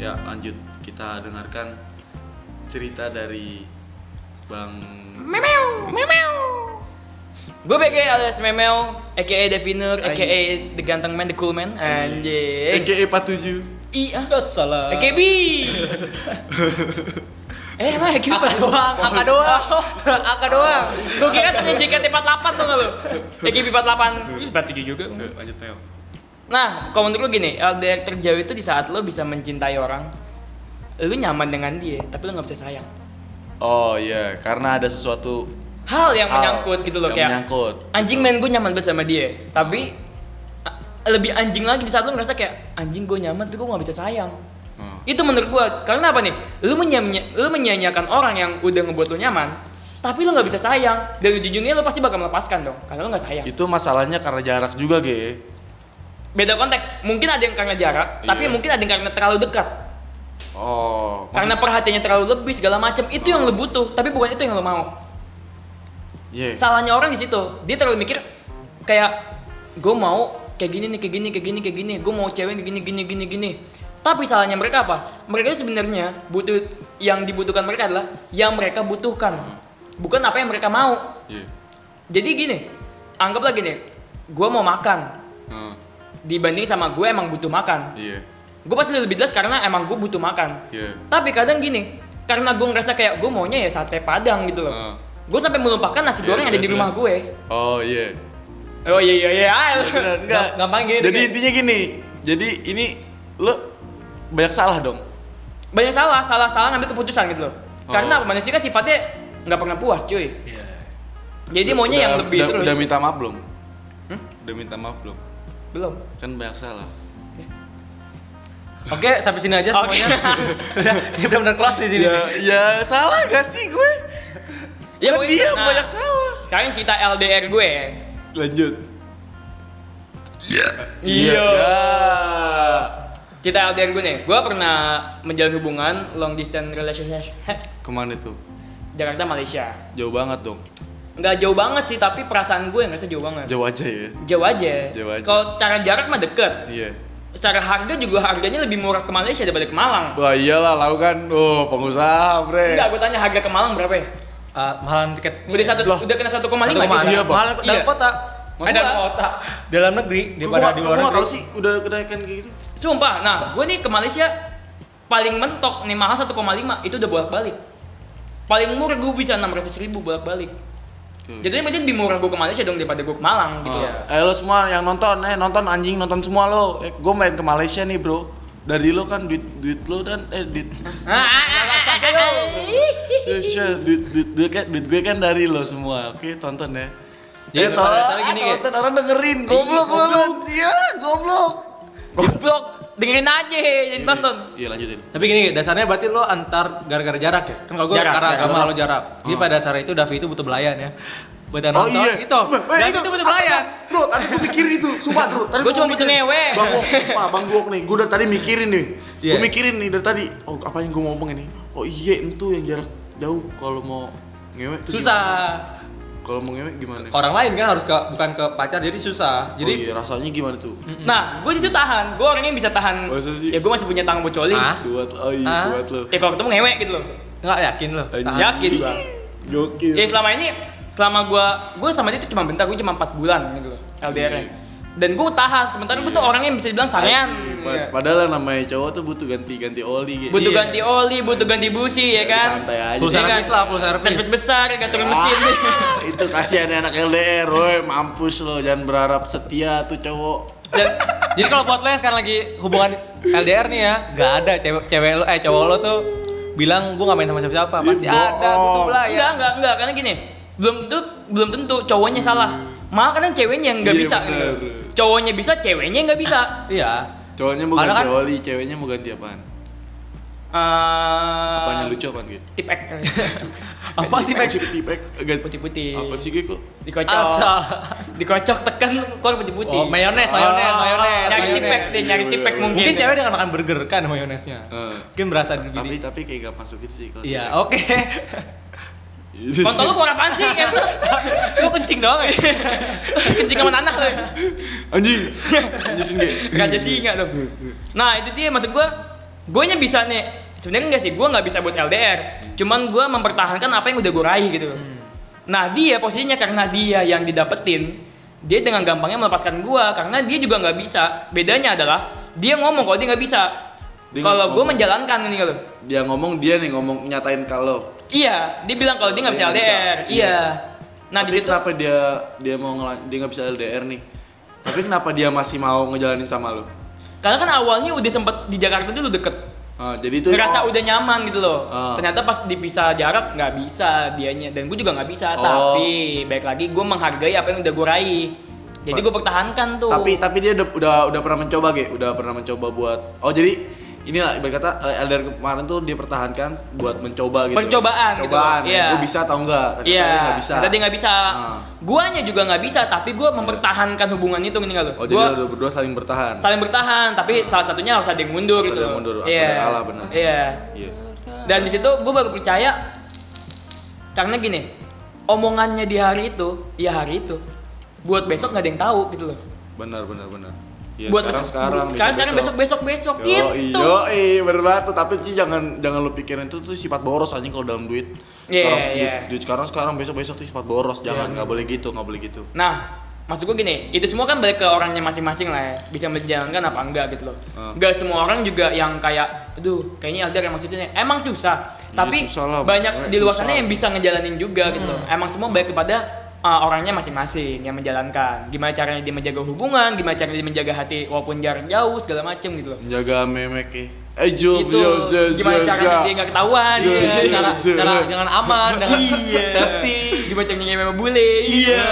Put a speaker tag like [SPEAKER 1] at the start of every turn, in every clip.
[SPEAKER 1] Ya, lanjut kita dengarkan cerita dari Bang
[SPEAKER 2] Memeo, memeo. Gue BG alias Memeo, aka Deviner,
[SPEAKER 1] Anjing.
[SPEAKER 2] aka The Ganteng Man, The Cool Man,
[SPEAKER 3] Iya.
[SPEAKER 2] anjing.
[SPEAKER 1] EKE 47.
[SPEAKER 2] I ah,
[SPEAKER 3] salah.
[SPEAKER 2] AKB. eh, emang AKB apa?
[SPEAKER 3] Aka doang, aka doang, aka doang.
[SPEAKER 2] Gue Oh. kira tanya JKT48 tuh nggak lo? AKB 48, 47 juga.
[SPEAKER 1] Eh, lanjut Meo.
[SPEAKER 2] Nah, kalau menurut lo gini, LDR terjauh itu di saat lo bisa mencintai orang, lo nyaman dengan dia, tapi lo nggak bisa sayang.
[SPEAKER 1] Oh iya, karena ada sesuatu
[SPEAKER 2] Hal yang
[SPEAKER 1] hal
[SPEAKER 2] menyangkut gitu loh
[SPEAKER 1] yang
[SPEAKER 2] kayak.
[SPEAKER 1] menyangkut.
[SPEAKER 2] anjing men gue nyaman banget sama dia tapi a- lebih anjing lagi di saat lu ngerasa kayak anjing gue nyaman tapi gue gak bisa sayang
[SPEAKER 1] Hmm.
[SPEAKER 2] itu menurut gue karena apa nih lu menyamnya lu menyanyiakan orang yang udah ngebuat lu nyaman tapi lu nggak bisa sayang dan ujung-ujungnya lu pasti bakal melepaskan dong karena lu nggak sayang
[SPEAKER 1] Itu masalahnya karena jarak juga, Ge.
[SPEAKER 2] beda konteks mungkin ada yang karena jarak tapi
[SPEAKER 1] Iya.
[SPEAKER 2] mungkin ada yang karena terlalu dekat
[SPEAKER 1] Oh, maksud-
[SPEAKER 2] karena perhatiannya terlalu lebih segala macam itu yang lu butuh tapi bukan itu yang lu mau
[SPEAKER 1] Iya.
[SPEAKER 2] salahnya orang di situ dia terlalu mikir kayak gue mau kayak gini nih kayak gini kayak gini kayak gini gue mau cewek kayak gini gini gini gini tapi salahnya mereka apa mereka sebenarnya butuh yang dibutuhkan mereka adalah yang mereka butuhkan bukan apa yang mereka mau
[SPEAKER 1] Iya.
[SPEAKER 2] jadi gini anggaplah gini gue mau makan
[SPEAKER 1] Hmm,
[SPEAKER 2] dibanding sama gue emang butuh makan
[SPEAKER 1] Iya.
[SPEAKER 2] gue pasti lebih jelas karena emang gue butuh makan
[SPEAKER 1] Iya.
[SPEAKER 2] tapi kadang gini karena gue ngerasa kayak gue maunya ya sate padang gitu loh
[SPEAKER 1] Hmm.
[SPEAKER 2] gue sampai melupakan nasi
[SPEAKER 1] Iya,
[SPEAKER 2] goreng yang ada di
[SPEAKER 1] jelas,
[SPEAKER 2] rumah
[SPEAKER 1] jelas.
[SPEAKER 2] gue
[SPEAKER 1] Oh, iya.
[SPEAKER 2] Oh iya iya iya. Ah, lu-
[SPEAKER 1] Enggak.
[SPEAKER 3] Gampang gini.
[SPEAKER 1] Jadi
[SPEAKER 3] Ge.
[SPEAKER 1] intinya gini. Jadi ini lo banyak salah dong.
[SPEAKER 2] Banyak salah, salah salah ngambil keputusan gitu loh. Karena manusia kan sifatnya nggak pernah puas cuy.
[SPEAKER 1] Iya.
[SPEAKER 2] Jadi maunya yang lebih
[SPEAKER 1] udah,
[SPEAKER 2] terus.
[SPEAKER 1] Udah minta maaf belum?
[SPEAKER 2] Hmm?
[SPEAKER 1] Udah minta maaf belum?
[SPEAKER 2] Belum.
[SPEAKER 1] Kan banyak salah.
[SPEAKER 3] Oke, sampai sini aja
[SPEAKER 2] Oke. Iya.
[SPEAKER 3] semuanya. Udah, dia benar-benar kelas di sini.
[SPEAKER 1] Ya, ya salah gak sih gue?
[SPEAKER 2] Ya,
[SPEAKER 1] Kan
[SPEAKER 2] pokoknya
[SPEAKER 1] dia
[SPEAKER 2] karena-
[SPEAKER 1] banyak salah.
[SPEAKER 2] Sekarang cerita LDR gue.
[SPEAKER 1] Lanjut.
[SPEAKER 2] Iya.
[SPEAKER 1] Ya.
[SPEAKER 2] Cerita LDR gue nih. Gue pernah menjalin hubungan long distance relationship
[SPEAKER 1] Kemana tuh?
[SPEAKER 2] Jakarta Malaysia.
[SPEAKER 1] Jauh banget dong.
[SPEAKER 2] Nggak jauh banget sih, tapi perasaan gue ngerasa jauh banget.
[SPEAKER 1] Jauh aja ya.
[SPEAKER 2] Jauh aja.
[SPEAKER 1] Jauh aja.
[SPEAKER 2] Kalau secara jarak mah deket.
[SPEAKER 1] Iya.
[SPEAKER 2] Secara harga juga harganya lebih murah ke Malaysia daripada ke Malang.
[SPEAKER 1] Wah iyalah lau kan. Oh, pengusaha, Bre.
[SPEAKER 2] Enggak, gue tanya harga ke Malang berapa ya?
[SPEAKER 3] Ah, mahalan tiket.
[SPEAKER 2] Udah satu,
[SPEAKER 1] Loh.
[SPEAKER 2] udah kena 1,5 koma
[SPEAKER 3] Satu koma
[SPEAKER 1] Iya,
[SPEAKER 3] enam.
[SPEAKER 1] Bang.
[SPEAKER 3] Mahalan dalam
[SPEAKER 2] Iya.
[SPEAKER 3] kota.
[SPEAKER 2] Maksud
[SPEAKER 3] dalam
[SPEAKER 2] gua-
[SPEAKER 3] kota. Dalam negeri
[SPEAKER 1] Gue
[SPEAKER 3] daripada di
[SPEAKER 1] gak
[SPEAKER 3] luar
[SPEAKER 1] tau
[SPEAKER 3] negeri.
[SPEAKER 1] sih udah kenaikan kayak gitu.
[SPEAKER 2] Sumpah, nah gue nih ke Malaysia paling mentok nih mahal 1,5 itu udah bolak balik. Paling murah gue bisa 600 ribu bolak balik.
[SPEAKER 1] Hmm.
[SPEAKER 2] Jadinya berarti lebih murah gue ke Malaysia dong daripada gue ke Malang gitu
[SPEAKER 3] Hmm.
[SPEAKER 1] Eh
[SPEAKER 2] ya.
[SPEAKER 1] lo semua yang nonton, eh nonton anjing nonton semua lo. Eh gue main ke Malaysia nih bro. Dari lo kan duit duit lo dan eh duit
[SPEAKER 2] Ah, ah, ah, ah,
[SPEAKER 3] saja
[SPEAKER 2] ah,
[SPEAKER 3] dong.
[SPEAKER 2] ah.
[SPEAKER 1] Sure, sure. duit duit duit kan duit gue kan dari lo semua. Oke tonton ya.
[SPEAKER 3] Jadi
[SPEAKER 1] Jadi
[SPEAKER 3] pada dasarnya gini,
[SPEAKER 1] tonton orang dengerin goblok lo lo. Iya goblok.
[SPEAKER 2] Goblok, dengerin aja, jadi tonton.
[SPEAKER 1] Iya lanjutin.
[SPEAKER 3] Tapi gini, dasarnya berarti lo antar gara-gara jarak ya? Kan kalau gue
[SPEAKER 2] Jarak,
[SPEAKER 3] karena
[SPEAKER 2] jarak.
[SPEAKER 3] agama lo jarak. Jadi pada dasarnya itu Davi itu butuh belayan ya. Buat yang
[SPEAKER 1] Oh
[SPEAKER 3] nonton,
[SPEAKER 1] iya.
[SPEAKER 3] itu.
[SPEAKER 1] Wah, wah,
[SPEAKER 3] Dan itu butuh belayan.
[SPEAKER 1] Ah, Bro, tadi gue mikirin itu. Sumpah, Bro. Tadi
[SPEAKER 2] Gue cuma butuh
[SPEAKER 1] mikirin.
[SPEAKER 2] ngewe.
[SPEAKER 1] Bang Wok, sumpah, Bang Wok nih. Gue dari tadi mikirin nih.
[SPEAKER 3] Iya.
[SPEAKER 1] Gue mikirin nih dari tadi. Oh, apa yang gue mau ngomong ini? Oh iya, itu yang jarak jauh kalau mau ngewe tuh
[SPEAKER 3] Susah.
[SPEAKER 1] gimana? Kalau mau ngewe gimana?
[SPEAKER 3] Ke orang lain kan harus ke bukan ke pacar, jadi susah.
[SPEAKER 1] Jadi
[SPEAKER 3] Jadi
[SPEAKER 1] rasanya gimana tuh?
[SPEAKER 2] Nah, gue itu tahan, gue orangnya bisa tahan.
[SPEAKER 1] Masa sih?
[SPEAKER 2] Ya gue masih punya tangan bocoling.
[SPEAKER 3] Ah.
[SPEAKER 1] Kuat, oh iya,
[SPEAKER 3] Ah.
[SPEAKER 1] kuat lo.
[SPEAKER 2] Ya kalau ketemu ngewe gitu loh.
[SPEAKER 3] nggak yakin lo.
[SPEAKER 1] iya. Anjing.
[SPEAKER 3] Tahan.
[SPEAKER 2] Yakin gua.
[SPEAKER 1] Gokil.
[SPEAKER 2] Ya selama ini selama gua gua sama dia tuh cuma bentar, gua cuma 4 bulan gitu loh
[SPEAKER 1] Iya,
[SPEAKER 2] LDR-nya. Dan gua tahan, sementara gua tuh orangnya yang bisa dibilang sangean.
[SPEAKER 1] Iya,
[SPEAKER 2] gitu
[SPEAKER 1] pad-
[SPEAKER 2] ya.
[SPEAKER 1] Padahal namanya cowok tuh butuh ganti-ganti oli gitu.
[SPEAKER 2] Butuh
[SPEAKER 3] Iya.
[SPEAKER 2] ganti oli, butuh ganti busi ya kan.
[SPEAKER 1] Santai aja.
[SPEAKER 3] Full
[SPEAKER 2] Iya kan?
[SPEAKER 3] service lah, full
[SPEAKER 2] Servis
[SPEAKER 3] service.
[SPEAKER 2] besar, gatur mesin.
[SPEAKER 1] Ah, itu kasihan anak LDR, woi mampus lo jangan berharap setia tuh cowok.
[SPEAKER 2] Dan
[SPEAKER 3] Jadi kalau buat lo yang sekarang lagi hubungan LDR nih ya, nggak ada cewek cewek lo eh cowok lo tuh bilang gue nggak main sama siapa-siapa. Pasti
[SPEAKER 1] Ih,
[SPEAKER 3] ada
[SPEAKER 1] Iya.
[SPEAKER 3] butuh
[SPEAKER 1] bohong.
[SPEAKER 2] enggak,
[SPEAKER 3] belayan.
[SPEAKER 2] enggak, enggak karena gini. Belum tuh belum tentu cowoknya salah. Malah kadang ceweknya yang nggak
[SPEAKER 1] Hmm. Iya,
[SPEAKER 2] bisa gitu.
[SPEAKER 1] bener.
[SPEAKER 2] Cowoknya bisa, ceweknya nggak bisa.
[SPEAKER 3] Iya.
[SPEAKER 1] Cowoknya mau ganti
[SPEAKER 3] Karena kan-
[SPEAKER 1] oli, ceweknya mau ganti apaan?
[SPEAKER 2] Eh,
[SPEAKER 1] Apanya lucu apaan gitu?
[SPEAKER 2] Tipek.
[SPEAKER 3] Apa sih Pak?
[SPEAKER 1] Lucu tipek ganti
[SPEAKER 2] Putih-putih.
[SPEAKER 1] apa sih gitu?
[SPEAKER 2] Dikocok.
[SPEAKER 3] Asal.
[SPEAKER 2] Dikocok tekan keluar putih-putih.
[SPEAKER 3] Oh, mayones, mayones,
[SPEAKER 1] Ah,
[SPEAKER 3] mayones.
[SPEAKER 2] nyari
[SPEAKER 3] mayones.
[SPEAKER 2] tipek deh, nyari tipek mungkin.
[SPEAKER 3] Mungkin cewek dengan makan burger kan mayonesnya.
[SPEAKER 1] Eh.
[SPEAKER 3] Mungkin berasa
[SPEAKER 1] Tapi
[SPEAKER 3] lebih di-
[SPEAKER 1] tapi kayak gak masuk gitu sih kalau.
[SPEAKER 3] Iya, oke.
[SPEAKER 1] tipek.
[SPEAKER 2] Kontol lu kurang apaan sih? Em?
[SPEAKER 3] Lu kencing doang ya.
[SPEAKER 2] Kencing sama tanah lu.
[SPEAKER 1] Anjing. Lanjutin gak?
[SPEAKER 2] Gajah singa lu. Nah, itu dia maksud gua gue nya bisa nih sebenarnya enggak sih gue nggak bisa buat LDR cuman gue mempertahankan apa yang udah gue raih gitu nah dia posisinya karena dia yang didapetin dia dengan gampangnya melepaskan gue karena dia juga nggak bisa bedanya adalah dia ngomong kalau dia nggak bisa
[SPEAKER 1] Dia
[SPEAKER 2] kalau gue
[SPEAKER 1] ngomong.
[SPEAKER 2] menjalankan ini kalau
[SPEAKER 1] dia ngomong dia nih ngomong nyatain kalau
[SPEAKER 2] iya dia bilang kalau dia nggak bisa
[SPEAKER 1] Dia nggak bisa.
[SPEAKER 2] LDR iya nah di
[SPEAKER 1] tapi
[SPEAKER 2] situ
[SPEAKER 1] kenapa dia dia mau ngela- dia nggak bisa LDR nih tapi kenapa dia masih mau ngejalanin sama lo
[SPEAKER 2] karena kan awalnya udah sempet di Jakarta dulu deket
[SPEAKER 1] Ah, jadi itu
[SPEAKER 2] ngerasa
[SPEAKER 1] oh,
[SPEAKER 2] udah nyaman gitu loh.
[SPEAKER 1] Ah.
[SPEAKER 2] Ternyata pas dipisah jarak nggak bisa dianya dan gue juga nggak bisa.
[SPEAKER 1] Oh.
[SPEAKER 2] Tapi baik lagi gue menghargai apa yang udah gue raih. Jadi
[SPEAKER 1] Ba-
[SPEAKER 2] gue pertahankan tuh.
[SPEAKER 1] tapi tapi dia udah udah, udah pernah mencoba ge udah pernah mencoba buat oh jadi inilah ibarat kata eh, LDR kemarin tuh dia pertahankan buat mencoba gitu
[SPEAKER 2] Percobaan gitu.
[SPEAKER 1] percobaan
[SPEAKER 2] Iya.
[SPEAKER 1] gue bisa atau enggak ternyata dia
[SPEAKER 2] Iya,
[SPEAKER 1] nggak bisa
[SPEAKER 2] ternyata dia nggak bisa.
[SPEAKER 1] Ah. Iya.
[SPEAKER 2] Guanya juga nggak bisa, tapi gue mempertahankan hubungan itu nih lo.
[SPEAKER 1] oh jadi
[SPEAKER 2] Gua
[SPEAKER 1] lo udah berdua saling bertahan
[SPEAKER 2] saling bertahan, tapi salah satunya harus ada yang mundur
[SPEAKER 1] Harus
[SPEAKER 2] gitu.
[SPEAKER 1] ada yang
[SPEAKER 2] loh.
[SPEAKER 1] mundur, harus
[SPEAKER 2] Iya.
[SPEAKER 1] ada yang kalah, benar.
[SPEAKER 2] Iya.
[SPEAKER 1] Iya.
[SPEAKER 2] Dan di situ gue baru percaya karena gini, omongannya di hari itu, ya hari itu. Buat besok nggak ada yang tahu gitu loh.
[SPEAKER 1] benar benar benar Iya, sekarang
[SPEAKER 2] buat besok-
[SPEAKER 1] sekarang
[SPEAKER 2] sekarang sekarang besok besok besok gitu
[SPEAKER 1] Yo, iyo, bener banget tuh. Tapi sih jangan jangan lu pikirin itu tuh sifat boros anjing kalau dalam duit. Sekarang
[SPEAKER 2] Iya, iya.
[SPEAKER 1] duit, duit sekarang sekarang besok besok tuh sifat boros. Jangan nggak boleh gitu, nggak boleh gitu.
[SPEAKER 2] nah maksud gue gini itu semua kan balik ke orangnya masing-masing lah ya bisa menjalankan apa enggak gitu loh
[SPEAKER 1] Hmm.
[SPEAKER 2] enggak semua orang juga yang kayak aduh kayaknya ada yang maksudnya emang susah tapi
[SPEAKER 1] Iya, susah lah,
[SPEAKER 2] banyak
[SPEAKER 1] banyak
[SPEAKER 2] di luar
[SPEAKER 1] susah. Hmm.
[SPEAKER 2] sana yang bisa ngejalanin juga gitu loh. emang semua balik kepada uh, orangnya masing-masing yang menjalankan gimana caranya dia menjaga hubungan gimana caranya dia menjaga hati walaupun jarak jauh segala macem gitu loh
[SPEAKER 1] Menjaga memek ya. Eh, jom,
[SPEAKER 2] Gitu,
[SPEAKER 1] jom, jom,
[SPEAKER 2] gimana
[SPEAKER 1] jom,
[SPEAKER 2] caranya
[SPEAKER 1] jom.
[SPEAKER 2] dia nggak ketahuan
[SPEAKER 1] Iya,
[SPEAKER 2] gitu.
[SPEAKER 1] iya,
[SPEAKER 3] cara
[SPEAKER 1] iya.
[SPEAKER 3] cara jangan aman jangan
[SPEAKER 1] Iya.
[SPEAKER 3] safety
[SPEAKER 2] gimana caranya dia memang boleh
[SPEAKER 1] Iya.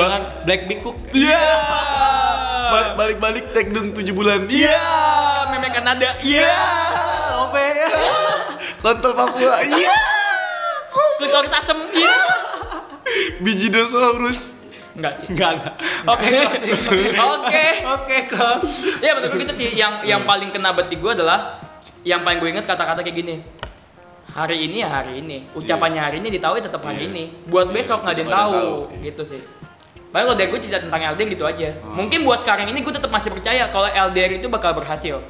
[SPEAKER 3] bahkan black big cook
[SPEAKER 1] Iya. Ba- Balik-balik take down 7 bulan. Iya.
[SPEAKER 2] memek Kanada
[SPEAKER 1] Iya.
[SPEAKER 3] ope
[SPEAKER 1] Kontol Papua. Iya.
[SPEAKER 2] klitoris asem iya
[SPEAKER 1] Biji dinosaurus.
[SPEAKER 2] enggak sih
[SPEAKER 3] enggak enggak oke closing.
[SPEAKER 2] Oke.
[SPEAKER 3] oke close
[SPEAKER 2] ya menurut gue gitu sih yang yang paling kena banget di gue adalah yang paling gue inget kata-kata kayak gini hari ini ya hari ini ucapannya hari ini ditahui tetap
[SPEAKER 1] Iya.
[SPEAKER 2] hari ini buat besok nggak ada yang
[SPEAKER 1] besok nggak
[SPEAKER 2] tahu
[SPEAKER 1] ada yang tahu. Hmm. Iya.
[SPEAKER 2] gitu sih Paling kalau dari gue cerita tentang LDR gitu aja mungkin buat sekarang ini gue tetap masih percaya kalau LDR itu bakal berhasil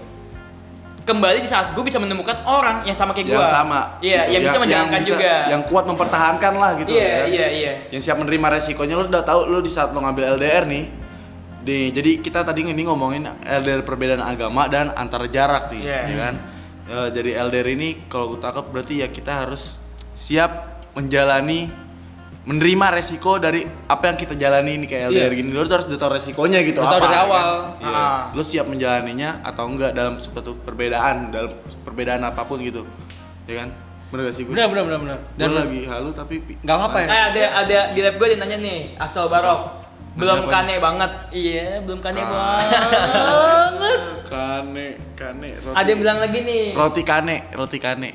[SPEAKER 2] kembali di saat gue bisa menemukan orang yang sama kayak gue
[SPEAKER 1] Yang sama.
[SPEAKER 2] iya
[SPEAKER 1] gitu.
[SPEAKER 2] yang bisa menjalankan
[SPEAKER 1] bisa-
[SPEAKER 2] juga
[SPEAKER 1] Yang kuat mempertahankan lah gitu.
[SPEAKER 2] iya
[SPEAKER 1] ya kan?
[SPEAKER 2] iya iya
[SPEAKER 1] yang siap menerima resikonya lo udah tahu lo di saat lo ngambil LDR nih nih jadi kita tadi ini ngomongin LDR perbedaan agama dan antar jarak nih
[SPEAKER 2] Iya.
[SPEAKER 1] ya kan Eh, jadi LDR ini kalau gue tangkap berarti ya kita harus siap menjalani menerima resiko dari apa yang kita jalani nih kayak LDR gini lo tuh harus udah tahu resikonya gitu apa
[SPEAKER 3] Harus Iya. tahu dari
[SPEAKER 1] ya kan?
[SPEAKER 3] awal.
[SPEAKER 1] Iya.
[SPEAKER 2] Ah.
[SPEAKER 1] lo siap menjalaninya atau enggak dalam suatu perbedaan dalam perbedaan apapun gitu ya kan bener gak sih gue
[SPEAKER 3] benar benar benar benar dan
[SPEAKER 1] Gua lagi halu tapi pi-
[SPEAKER 3] nggak apa-apa ya
[SPEAKER 2] Eh ada ada di live gue dia nanya nih, Axel Barok. Belum
[SPEAKER 1] Apa
[SPEAKER 2] kane banget. Iya, belum kane
[SPEAKER 1] Ah.
[SPEAKER 2] banget.
[SPEAKER 1] kane kane roti.
[SPEAKER 2] Ada yang bilang lagi nih,
[SPEAKER 1] roti kane roti kane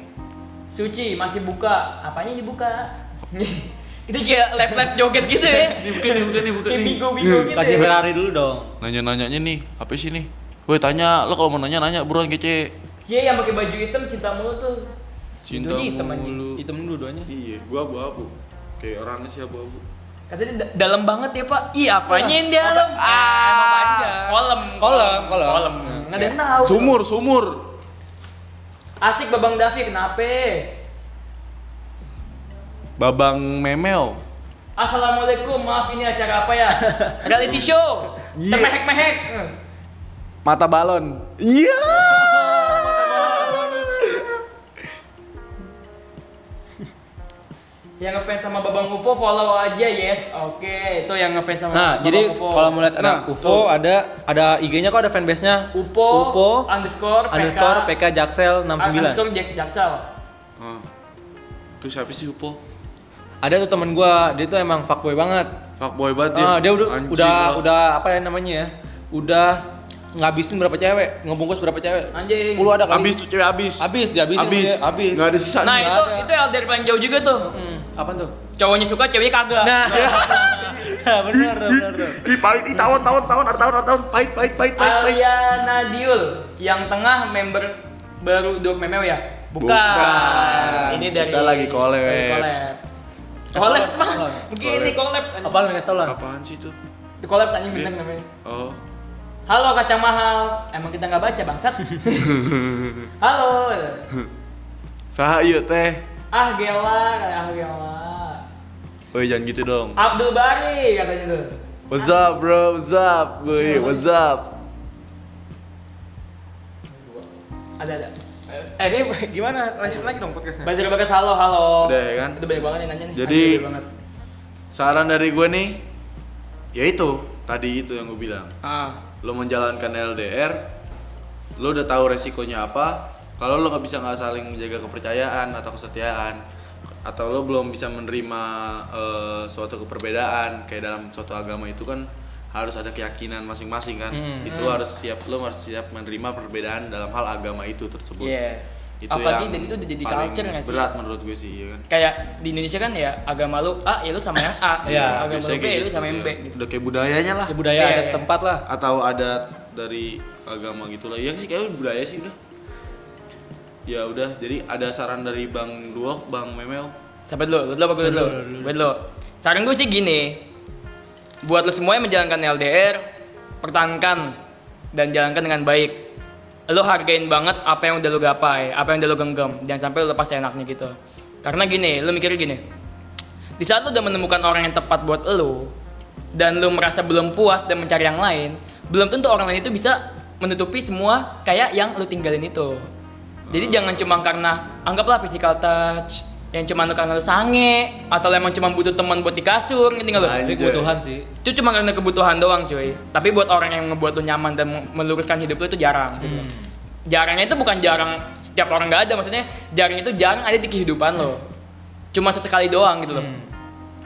[SPEAKER 2] Suci masih buka. Apanya dibuka? Itu kayak live live joget gitu ya.
[SPEAKER 1] dibuka dibuka dibuka
[SPEAKER 2] Kayak bingo bingo gitu.
[SPEAKER 3] kasih
[SPEAKER 2] ya.
[SPEAKER 3] Ferrari dulu dong
[SPEAKER 1] nanya nanyanya nih apa sih nih Woi tanya, lo kalau mau nanya nanya buruan kece
[SPEAKER 2] Cie yang pakai baju hitam cinta mulu tuh.
[SPEAKER 1] Cinta
[SPEAKER 2] Hidungnya hitam anjing.
[SPEAKER 1] mulu
[SPEAKER 3] hitam dulu doanya
[SPEAKER 1] Iya, gua abu-abu Kayak orangnya sih abu-abu
[SPEAKER 2] Katanya da- dalam banget ya pak. Iya apanya yang dalam?
[SPEAKER 3] emang panjang.
[SPEAKER 2] Kolom.
[SPEAKER 3] Kolom, kolom.
[SPEAKER 2] Kolom. Nggak ada yang tahu.
[SPEAKER 1] Sumur, sumur
[SPEAKER 2] Asik babang Davi kenapa?
[SPEAKER 1] Babang memeo
[SPEAKER 2] Assalamualaikum, maaf ini acara apa ya? Reality show.
[SPEAKER 1] Iya.
[SPEAKER 2] Termehek-mehek.
[SPEAKER 1] Mata balon Iya
[SPEAKER 2] Yang ngefans sama Babang UFO follow aja, yes. Oke, itu yang ngefans sama
[SPEAKER 3] nah
[SPEAKER 2] Babang
[SPEAKER 3] jadi
[SPEAKER 2] UFO.
[SPEAKER 3] kalau melihat ada
[SPEAKER 1] Nah,
[SPEAKER 3] UFO ada ada IG-nya kok ada fanbase-nya
[SPEAKER 2] UFO,
[SPEAKER 3] UFO
[SPEAKER 2] underscore PK
[SPEAKER 3] underscore PK Jaksel
[SPEAKER 2] underscore
[SPEAKER 3] 69
[SPEAKER 2] Ah, kan Jack Jaksel.
[SPEAKER 1] Ah. Tuh siapa sih Upo?
[SPEAKER 3] ada tuh temen gua dia tuh emang fuckboy banget
[SPEAKER 1] Fuckboy banget
[SPEAKER 3] Ah, dia udah
[SPEAKER 1] Anjing,
[SPEAKER 3] udah
[SPEAKER 1] lo.
[SPEAKER 3] udah apa ya namanya ya? Udah ngabisin berapa cewek, ngebungkus berapa cewek?
[SPEAKER 2] Anjing.
[SPEAKER 3] 10 ada kali.
[SPEAKER 1] Abis tuh cewek abis
[SPEAKER 3] Abis, dihabisin
[SPEAKER 1] Abis
[SPEAKER 3] sama dia, abis.
[SPEAKER 1] Nggak ada sisa
[SPEAKER 2] Nah,
[SPEAKER 1] nih.
[SPEAKER 2] itu itu LDR paling jauh juga tuh.
[SPEAKER 3] Hmm, apaan tuh?
[SPEAKER 2] Cowoknya suka, ceweknya kagak.
[SPEAKER 3] Nah. Nah, benar benar. benar.
[SPEAKER 1] Ih pahit, ih tawon, tawon, tawon, ada tawon, ada tawon Pahit, pahit, pahit, pahit,
[SPEAKER 2] Ah,
[SPEAKER 1] pahit
[SPEAKER 2] Alia Nadiul yang tengah member baru Dok Memeo ya? Bukan.
[SPEAKER 1] Bukan.
[SPEAKER 2] Ini dari
[SPEAKER 1] Kita lagi collabs.
[SPEAKER 2] dari collabs. Collabs, Bang.
[SPEAKER 3] Collabs.
[SPEAKER 2] Begini collabs. anjing.
[SPEAKER 3] Apaan ngasih tau lah?
[SPEAKER 1] Apaan sih itu?
[SPEAKER 2] Itu collabs anjing bintang namanya.
[SPEAKER 1] Oh
[SPEAKER 2] Halo kacang mahal, emang kita nggak baca bangsat? Halo,
[SPEAKER 1] Saha iya teh.
[SPEAKER 2] ah gela, ah gela.
[SPEAKER 1] Woi jangan gitu dong.
[SPEAKER 2] Abdul Bari katanya tuh.
[SPEAKER 1] What's up bro? What's up? Woi, what's up?
[SPEAKER 2] Ada ada.
[SPEAKER 3] Eh ini gimana? Lanjut lagi dong podcastnya.
[SPEAKER 2] Baca baca halo halo.
[SPEAKER 1] Udah, ya kan?
[SPEAKER 2] Itu banyak banget yang nanya nih.
[SPEAKER 1] Jadi-
[SPEAKER 2] Anjir, banyak banget.
[SPEAKER 1] Saran dari gue nih, ya itu tadi itu yang gue bilang.
[SPEAKER 2] Ah,
[SPEAKER 1] Lo menjalankan LDR, lo udah tahu resikonya apa. Kalau lo nggak bisa nggak saling menjaga kepercayaan atau kesetiaan, atau lo belum bisa menerima eh, suatu keperbedaan kayak dalam suatu agama itu kan harus ada keyakinan masing-masing kan.
[SPEAKER 3] Hmm.
[SPEAKER 1] Itu harus siap lo harus siap menerima perbedaan dalam hal agama itu tersebut.
[SPEAKER 2] Iya.
[SPEAKER 1] Itu yang
[SPEAKER 2] Apalagi dan itu udah jadi
[SPEAKER 1] paling
[SPEAKER 2] culture nggak sih?
[SPEAKER 1] Berat menurut gue sih, iya kan.
[SPEAKER 2] Kayak di Indonesia kan ya agama lu A ya lu sama yang A,
[SPEAKER 3] Iya,
[SPEAKER 2] agama lu
[SPEAKER 1] biasanya
[SPEAKER 2] B
[SPEAKER 1] kayak
[SPEAKER 2] ya lu
[SPEAKER 1] gitu,
[SPEAKER 2] sama yang B
[SPEAKER 1] iya.
[SPEAKER 2] gitu.
[SPEAKER 1] Udah kayak budayanya lah.
[SPEAKER 3] Ya, budaya
[SPEAKER 2] Iya,
[SPEAKER 3] ada
[SPEAKER 2] iya.
[SPEAKER 3] setempat lah.
[SPEAKER 1] atau adat dari agama gitu lah. Iya sih kayak budaya sih udah. Ya udah, jadi ada saran dari Bang Duok, Bang Memel.
[SPEAKER 2] Sampai dulu, lu dulu apa gue dulu? Gue dulu. Saran gue sih gini. Buat lo semua yang menjalankan LDR, pertahankan dan jalankan dengan baik. Lo hargain banget apa yang udah lo gapai, apa yang udah lo genggam. Jangan sampai lo lepas enaknya gitu. Karena gini, lo mikir gini. Di saat lo udah menemukan orang yang tepat buat lo, dan lo merasa belum puas dan mencari yang lain, belum tentu orang lain itu bisa menutupi semua kayak yang lo tinggalin itu. Jadi jangan cuma karena anggaplah physical touch yang cuma karena lu sange atau lu emang cuma butuh teman buat di kasur ngerti nggak lu?
[SPEAKER 1] Anjay.
[SPEAKER 3] Tapi kebutuhan sih.
[SPEAKER 2] Itu cuma karena kebutuhan doang cuy. Tapi buat orang yang ngebuat lu nyaman dan meluruskan hidup lu itu jarang. gitu. Jarangnya itu bukan jarang setiap orang nggak ada maksudnya jarang itu jarang ada di kehidupan lo. Cuma sesekali doang gitu
[SPEAKER 3] Hmm.
[SPEAKER 2] loh.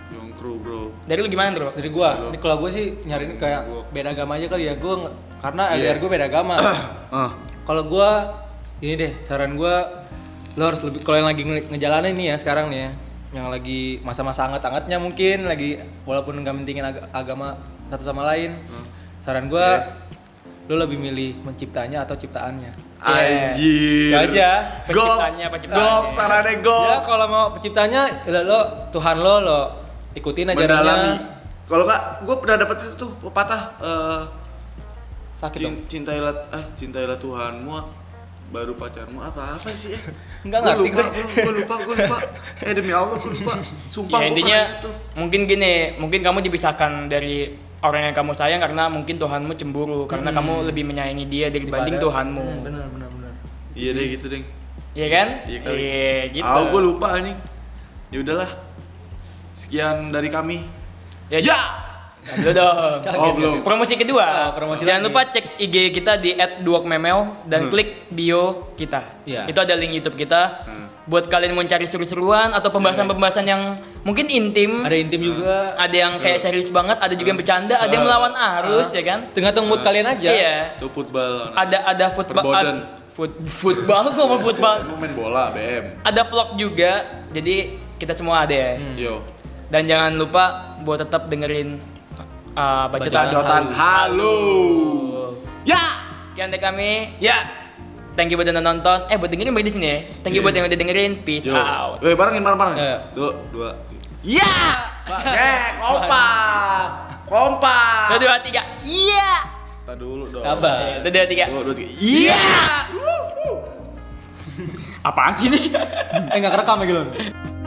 [SPEAKER 1] Yongkru, Bro.
[SPEAKER 2] Dari lu gimana bro?
[SPEAKER 3] Dari gua, ini kalau gua sih nyariin kayak beda agama aja kali ya gua nge- karena
[SPEAKER 1] Iya.
[SPEAKER 3] LDR gua beda agama.
[SPEAKER 1] Ah,
[SPEAKER 3] kalau gua ini deh saran gua lo harus lebih kalau yang lagi nge- ngejalanin nih ya sekarang nih ya yang lagi masa-masa anget-angetnya mungkin lagi walaupun nggak mentingin ag- agama satu sama lain saran gua lo lebih milih menciptanya atau ciptaannya
[SPEAKER 1] anjir.
[SPEAKER 3] Itu aja.
[SPEAKER 1] Goks.
[SPEAKER 2] Penciptanya, penciptaannya.
[SPEAKER 1] Goks, sarane
[SPEAKER 3] ya
[SPEAKER 1] goks.
[SPEAKER 3] kalau mau penciptanya ya lo Tuhan lo lo ikutin aja
[SPEAKER 1] Mendalami. Kalau nggak, gue pernah dapet itu tuh pepatah eh,
[SPEAKER 3] sakit dong
[SPEAKER 1] cin- cintailah eh cintailah Tuhanmu baru pacarmu apa apa sih ya?
[SPEAKER 3] Nggak
[SPEAKER 1] Gua
[SPEAKER 3] ngerti
[SPEAKER 1] lupa,
[SPEAKER 3] gue.
[SPEAKER 1] gue lupa, gue lupa. Eh demi Allah gue lupa. Sumpah
[SPEAKER 2] ya,
[SPEAKER 1] gue
[SPEAKER 2] intinya
[SPEAKER 1] pernah gitu. itu.
[SPEAKER 2] mungkin gini mungkin kamu dipisahkan dari orang yang kamu sayang karena mungkin Tuhanmu cemburu karena kamu lebih menyayangi dia dibanding Tuhanmu
[SPEAKER 3] Hmm, benar benar benar
[SPEAKER 1] Iya deh gitu deng.
[SPEAKER 2] Iya kan
[SPEAKER 1] Iya
[SPEAKER 2] iya
[SPEAKER 1] kali.
[SPEAKER 2] gitu
[SPEAKER 1] Ah, gue lupa anjing. Ya udahlah. Sekian dari kami.
[SPEAKER 2] ya, gitu.
[SPEAKER 1] Ya.
[SPEAKER 2] dulu dong
[SPEAKER 1] Oh, belum.
[SPEAKER 2] promosi kedua
[SPEAKER 3] Ah, promosi
[SPEAKER 2] jangan
[SPEAKER 3] lagi.
[SPEAKER 2] lupa cek IG kita di @duokmemel dan klik bio kita
[SPEAKER 3] Iya.
[SPEAKER 2] itu ada link YouTube kita
[SPEAKER 1] Hmm.
[SPEAKER 2] buat kalian mau cari seru-seruan atau pembahasan-pembahasan yang mungkin intim
[SPEAKER 3] ada intim juga
[SPEAKER 2] ada yang kayak serius banget ada juga yang bercanda ada yang melawan arus ya kan
[SPEAKER 3] tergantung mood kalian aja
[SPEAKER 2] iya
[SPEAKER 1] Itu football. anak.
[SPEAKER 2] ada ada football
[SPEAKER 1] Perboden.
[SPEAKER 2] ad- foot football gua mau football
[SPEAKER 1] Lu main bola BM.
[SPEAKER 2] ada vlog juga jadi kita semua ada ya
[SPEAKER 1] Yo.
[SPEAKER 2] dan jangan lupa buat tetap dengerin uh, bacotan,
[SPEAKER 1] Bacotan halo. Ya.
[SPEAKER 2] sekian dari kami
[SPEAKER 1] Ya.
[SPEAKER 2] thank you buat yang udah nonton eh buat dengerin baik di sini ya thank you buat yang udah dengerin peace
[SPEAKER 1] Yo. Eh,
[SPEAKER 2] out Ya.
[SPEAKER 1] Woi, barengin bareng-bareng.
[SPEAKER 3] Iya.
[SPEAKER 1] Tuh, dua. tiga. Ya. Eh, kompak. Kompak. Ya!
[SPEAKER 2] satu dua tiga iya
[SPEAKER 1] Kita dulu dong.
[SPEAKER 3] sabar
[SPEAKER 2] satu dua tiga
[SPEAKER 1] Dua, dua, tiga. Iya.
[SPEAKER 2] Ya! apaan sih nih
[SPEAKER 3] eh nggak kerekam ya gitu